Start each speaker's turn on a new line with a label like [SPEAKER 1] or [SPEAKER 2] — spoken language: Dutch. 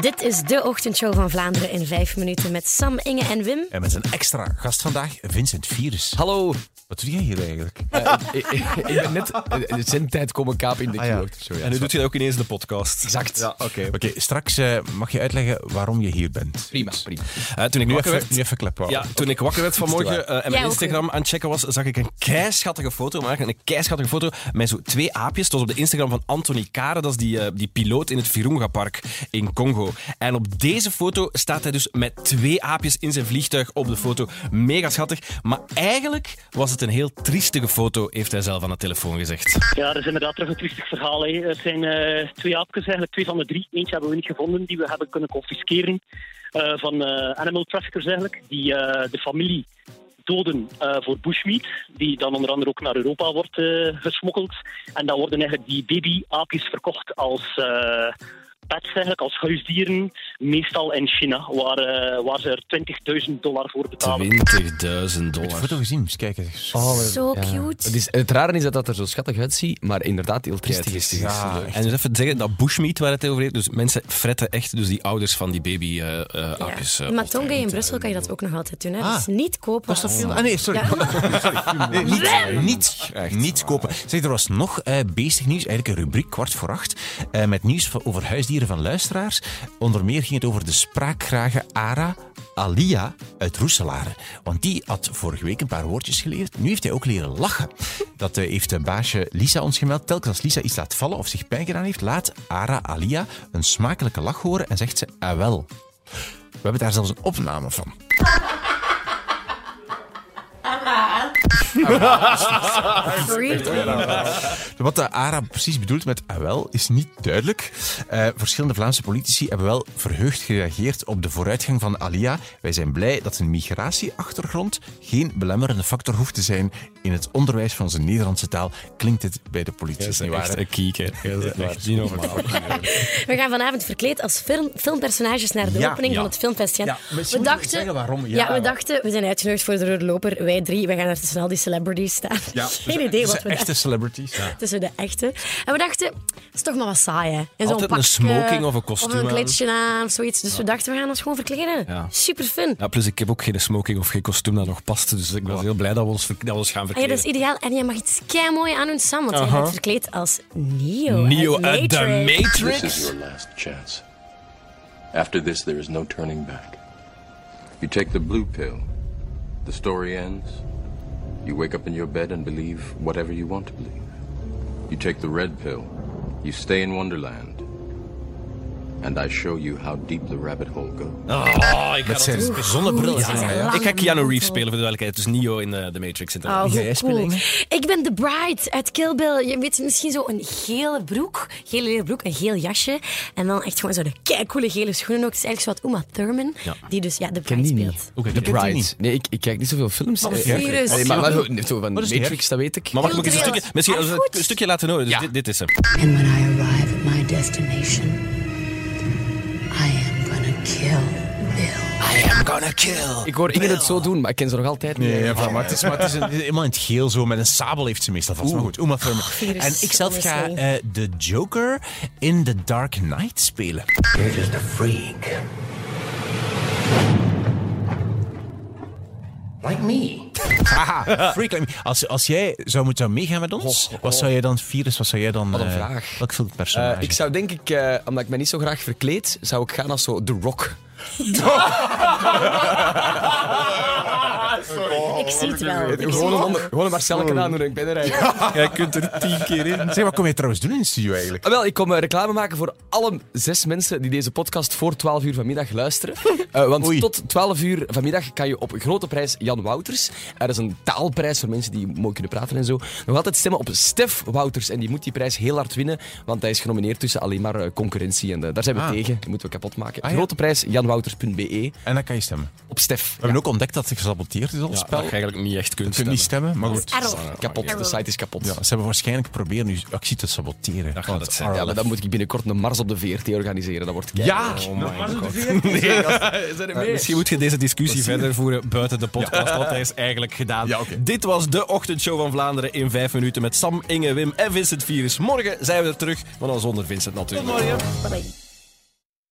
[SPEAKER 1] Dit is de ochtendshow van Vlaanderen in vijf minuten met Sam, Inge en Wim.
[SPEAKER 2] En met een extra gast vandaag, Vincent Virus.
[SPEAKER 3] Hallo,
[SPEAKER 2] Wat doe jij hier eigenlijk?
[SPEAKER 3] Eh, ik, ik, ik ben net eh, zendtijd komen kaap in de
[SPEAKER 4] ja.
[SPEAKER 3] keyword. Sorry,
[SPEAKER 5] En nu
[SPEAKER 3] ja, sorry.
[SPEAKER 5] doet hij dat ook ineens in de podcast.
[SPEAKER 3] Exact.
[SPEAKER 5] Ja, oké.
[SPEAKER 2] Oké, straks eh, mag je uitleggen waarom je hier bent.
[SPEAKER 3] Prima, prima.
[SPEAKER 5] Eh, toen ik
[SPEAKER 2] Nu
[SPEAKER 5] wakker
[SPEAKER 2] even,
[SPEAKER 5] werd...
[SPEAKER 2] nu even klep
[SPEAKER 5] Ja, toen ik wakker werd vanmorgen eh, en mijn
[SPEAKER 1] ook
[SPEAKER 5] Instagram aan het checken was, zag ik een keischattige foto maken. Een keischattige foto met zo twee aapjes. Het was op de Instagram van Anthony Kare, dat is die, eh, die piloot in het Virunga-park in Congo. En op deze foto staat hij dus met twee aapjes in zijn vliegtuig op de foto. Mega schattig. Maar eigenlijk was het een heel triestige foto, heeft hij zelf aan de telefoon gezegd.
[SPEAKER 6] Ja, dat is inderdaad terug een triestig verhaal. Hè. Er zijn eh, twee aapjes, eigenlijk twee van de drie. Eentje hebben we niet gevonden, die we hebben kunnen confisceren eh, van eh, animal traffickers eigenlijk, die eh, de familie doden eh, voor bushmeat, die dan onder andere ook naar Europa wordt eh, gesmokkeld. En dan worden eigenlijk die baby-aapjes verkocht als eh, pets, eigenlijk, als huisdieren, meestal in China, waar, eh, waar ze er 20.000 dollar voor betalen.
[SPEAKER 5] 20.000
[SPEAKER 2] De
[SPEAKER 5] dollar.
[SPEAKER 2] foto gezien, eens kijken. Zo
[SPEAKER 1] Zo cute.
[SPEAKER 3] Het, is, het rare is dat dat er zo schattig uitziet, maar inderdaad heel triestig is.
[SPEAKER 2] Ja,
[SPEAKER 3] Ja.
[SPEAKER 2] echt.
[SPEAKER 5] En dus even zeggen, dat bushmeat waar het over heeft, dus mensen fretten echt dus die ouders van die baby eh eh,
[SPEAKER 1] Ja.
[SPEAKER 5] aapjes. eh,
[SPEAKER 1] In
[SPEAKER 5] op.
[SPEAKER 1] Matonga in Brussel kan je dat ook nog altijd doen. Hè? Dat is niet kopen.
[SPEAKER 2] Ah. Was dat veel? Ah nee, sorry. Nee, niet, niet, niet kopen. Zeg, er was nog eh, beestig nieuws, eigenlijk een rubriek kwart voor acht, eh, met nieuws van- over huisdieren van luisteraars. Onder meer ging het over de spraakgrage Ara Alia uit Roeselaar. Want die had vorige week een paar woordjes geleerd. Nu heeft hij ook leren lachen. Dat eh, heeft de baasje Lisa ons gemeld. Telkens als Lisa iets laat vallen of zich pijn gedaan heeft, laat Ara Alia een smakelijke lach horen en zegt ze, ah wel. We hebben daar zelfs een opname van.
[SPEAKER 1] For real.
[SPEAKER 2] Wat de ARA precies bedoelt met ah wel is niet duidelijk. Eh, verschillende Vlaamse politici hebben wel verheugd gereageerd op de vooruitgang van Alia. Wij zijn blij dat een migratieachtergrond geen belemmerende factor hoeft te zijn in het onderwijs van onze Nederlandse taal. Klinkt dit bij de politici niet waar? hè?
[SPEAKER 5] een kieken. Echt niet normaal.
[SPEAKER 1] We gaan vanavond verkleed als film, filmpersonages naar de
[SPEAKER 2] Ja,
[SPEAKER 1] opening
[SPEAKER 2] ja.
[SPEAKER 1] van het filmfestival.
[SPEAKER 2] Ja, misschien
[SPEAKER 1] we
[SPEAKER 2] moeten we
[SPEAKER 1] dachten,
[SPEAKER 2] zeggen waarom.
[SPEAKER 1] Ja,
[SPEAKER 2] Ja,
[SPEAKER 1] we
[SPEAKER 2] wel.
[SPEAKER 1] dachten, we zijn uitgenodigd voor de rode loper. Wij drie, we gaan daar tussen al die celebrities staan. Geen idee
[SPEAKER 2] dus Ze
[SPEAKER 1] wat
[SPEAKER 2] zijn
[SPEAKER 1] we
[SPEAKER 2] echte
[SPEAKER 1] dachten.
[SPEAKER 2] celebrities.
[SPEAKER 1] Tussen de echte. En we dachten, het is toch maar wat saai, hè? En
[SPEAKER 5] Altijd een smoking of een kostuum
[SPEAKER 1] Of een
[SPEAKER 5] aan.
[SPEAKER 1] kleedje aan, of zoiets. Dus we dachten, we gaan ons gewoon verkleden.
[SPEAKER 5] Ja.
[SPEAKER 1] Super fun.
[SPEAKER 5] Ja, plus ik heb ook geen smoking of geen kostuum dat nog past, dus ik was heel blij dat we ons, ver- dat we ons gaan
[SPEAKER 1] Ah ja,
[SPEAKER 5] verkleden.
[SPEAKER 1] dat is ideaal. En je mag iets kei mooi aan doen, Sam. Want jij bent verkleed als Neo.
[SPEAKER 5] Neo
[SPEAKER 1] uit
[SPEAKER 3] eh,
[SPEAKER 5] uit de
[SPEAKER 7] This is
[SPEAKER 5] Matrix.
[SPEAKER 7] your last chance. After this, there is no turning back. You take the blue pill, the story ends. You wake up in your bed and believe whatever you want to believe. You take the red pill, you stay in Wonderland, and I show you how deep the rabbit hole goes.
[SPEAKER 5] Oh, ik ga,
[SPEAKER 2] Dat
[SPEAKER 5] dat-
[SPEAKER 2] zijn zonnebril.
[SPEAKER 1] Goed, ja, ja.
[SPEAKER 5] ik ga Keanu Reeves spelen, voor de duidelijkheid. Dus Neo in eh, de Matrix.
[SPEAKER 1] Oh,
[SPEAKER 5] inderdaad.
[SPEAKER 1] hoe
[SPEAKER 2] jij
[SPEAKER 1] cool.
[SPEAKER 2] spelen?
[SPEAKER 1] Ik ben de bride uit Kill Bill. Je weet misschien zo een gele broek, gele leren broek, een geel jasje. En dan echt gewoon zo de keicoole gele schoenen ook. Het is eigenlijk zo wat Uma Thurman, die dus ja, de bride
[SPEAKER 3] die niet.
[SPEAKER 1] speelt.
[SPEAKER 2] Oké,
[SPEAKER 3] The
[SPEAKER 2] dat kent hij
[SPEAKER 3] Bride.
[SPEAKER 2] niet.
[SPEAKER 3] Nee, ik, ik kijk niet zoveel films.
[SPEAKER 1] Maar
[SPEAKER 3] Eh,
[SPEAKER 1] serieus?
[SPEAKER 3] eh, maar, maar zo, zo van
[SPEAKER 2] Wat is die
[SPEAKER 3] Matrix, dat weet ik.
[SPEAKER 5] Maar wacht, moet ik eens een
[SPEAKER 1] Heel
[SPEAKER 5] stukje, misschien
[SPEAKER 1] triest.
[SPEAKER 5] een,
[SPEAKER 1] Ah, goed.
[SPEAKER 5] een stukje laten horen. Dus
[SPEAKER 3] Ja.
[SPEAKER 5] dit, dit is hem.
[SPEAKER 8] And when I arrive at my destination, I am gonna kill Bill.
[SPEAKER 3] Ik hoor Inge het zo doen, maar ik ken ze nog altijd niet. Eh,
[SPEAKER 2] Nee, ja, voilà, maar het is, maar het is een, helemaal in het geel zo. Met een sabel heeft ze meestal vast. Maar goed, Uma Thurman.
[SPEAKER 1] virus.
[SPEAKER 2] en ik zelf ga
[SPEAKER 1] Wesley.
[SPEAKER 2] eh, de Joker in The Dark Knight spelen.
[SPEAKER 9] You're just a freak. Like me.
[SPEAKER 2] Haha, freak like me. Als, als jij zou moeten meegaan met ons, wat zou jij dan, Virus, wat zou jij dan... Wat
[SPEAKER 3] een vraag.
[SPEAKER 2] Welk
[SPEAKER 3] Eh,
[SPEAKER 2] filmpersonage?
[SPEAKER 3] ik zou denk ik, eh, omdat ik me niet zo graag verkleed, zou ik gaan als zo The Rock.
[SPEAKER 1] ik zie
[SPEAKER 3] Oh,
[SPEAKER 1] het wel. Ik zie
[SPEAKER 3] Gewoon een,
[SPEAKER 1] het.
[SPEAKER 3] ander- gewoon een Marcelletje aan doen en ik ben er eigenlijk.
[SPEAKER 5] Jij kunt er tien keer in.
[SPEAKER 2] Zeg, wat kom je trouwens doen in de studio eigenlijk?
[SPEAKER 3] Ah, wel, ik kom eh, reclame maken voor alle zes mensen die deze podcast voor 12 uur vanmiddag luisteren. Eh, want
[SPEAKER 2] Oei.
[SPEAKER 3] tot 12 uur vanmiddag kan je op grote prijs Jan Wouters. Er is een taalprijs voor mensen die mooi kunnen praten en zo. Nog altijd stemmen op Stef Wouters. En die moet die prijs heel hard winnen, want hij is genomineerd tussen alleen maar eh, concurrentie. En eh, daar zijn we
[SPEAKER 2] Ah.
[SPEAKER 3] tegen. Die moeten we kapot maken.
[SPEAKER 2] ja.
[SPEAKER 3] Grote prijs janwouters.be
[SPEAKER 2] En dan kan je stemmen. We
[SPEAKER 3] op Stef.
[SPEAKER 2] hebben ook ontdekt dat het gesaboteerd is, al het
[SPEAKER 5] Ja,
[SPEAKER 2] spel.
[SPEAKER 5] dat je eigenlijk niet echt kunt
[SPEAKER 2] Je kunt niet stemmen, maar goed.
[SPEAKER 1] Errol.
[SPEAKER 3] Kapot, de site is kapot.
[SPEAKER 2] Ja, ze hebben waarschijnlijk proberen nu actie te saboteren.
[SPEAKER 5] Dat gaat het zijn.
[SPEAKER 3] Ja, maar dan moet ik binnenkort een Mars op de VRT organiseren. Dat wordt kei-
[SPEAKER 2] Ja!
[SPEAKER 5] Misschien moet je deze discussie verder voeren buiten de podcast, want hij is eigenlijk gedaan.
[SPEAKER 2] Ja, oké.
[SPEAKER 5] Dit was de ochtendshow van Vlaanderen in vijf minuten met Sam, Inge, Wim en Vincent Virus. Morgen zijn we er terug, maar dan zonder Vincent natuurlijk.
[SPEAKER 1] Bye-bye.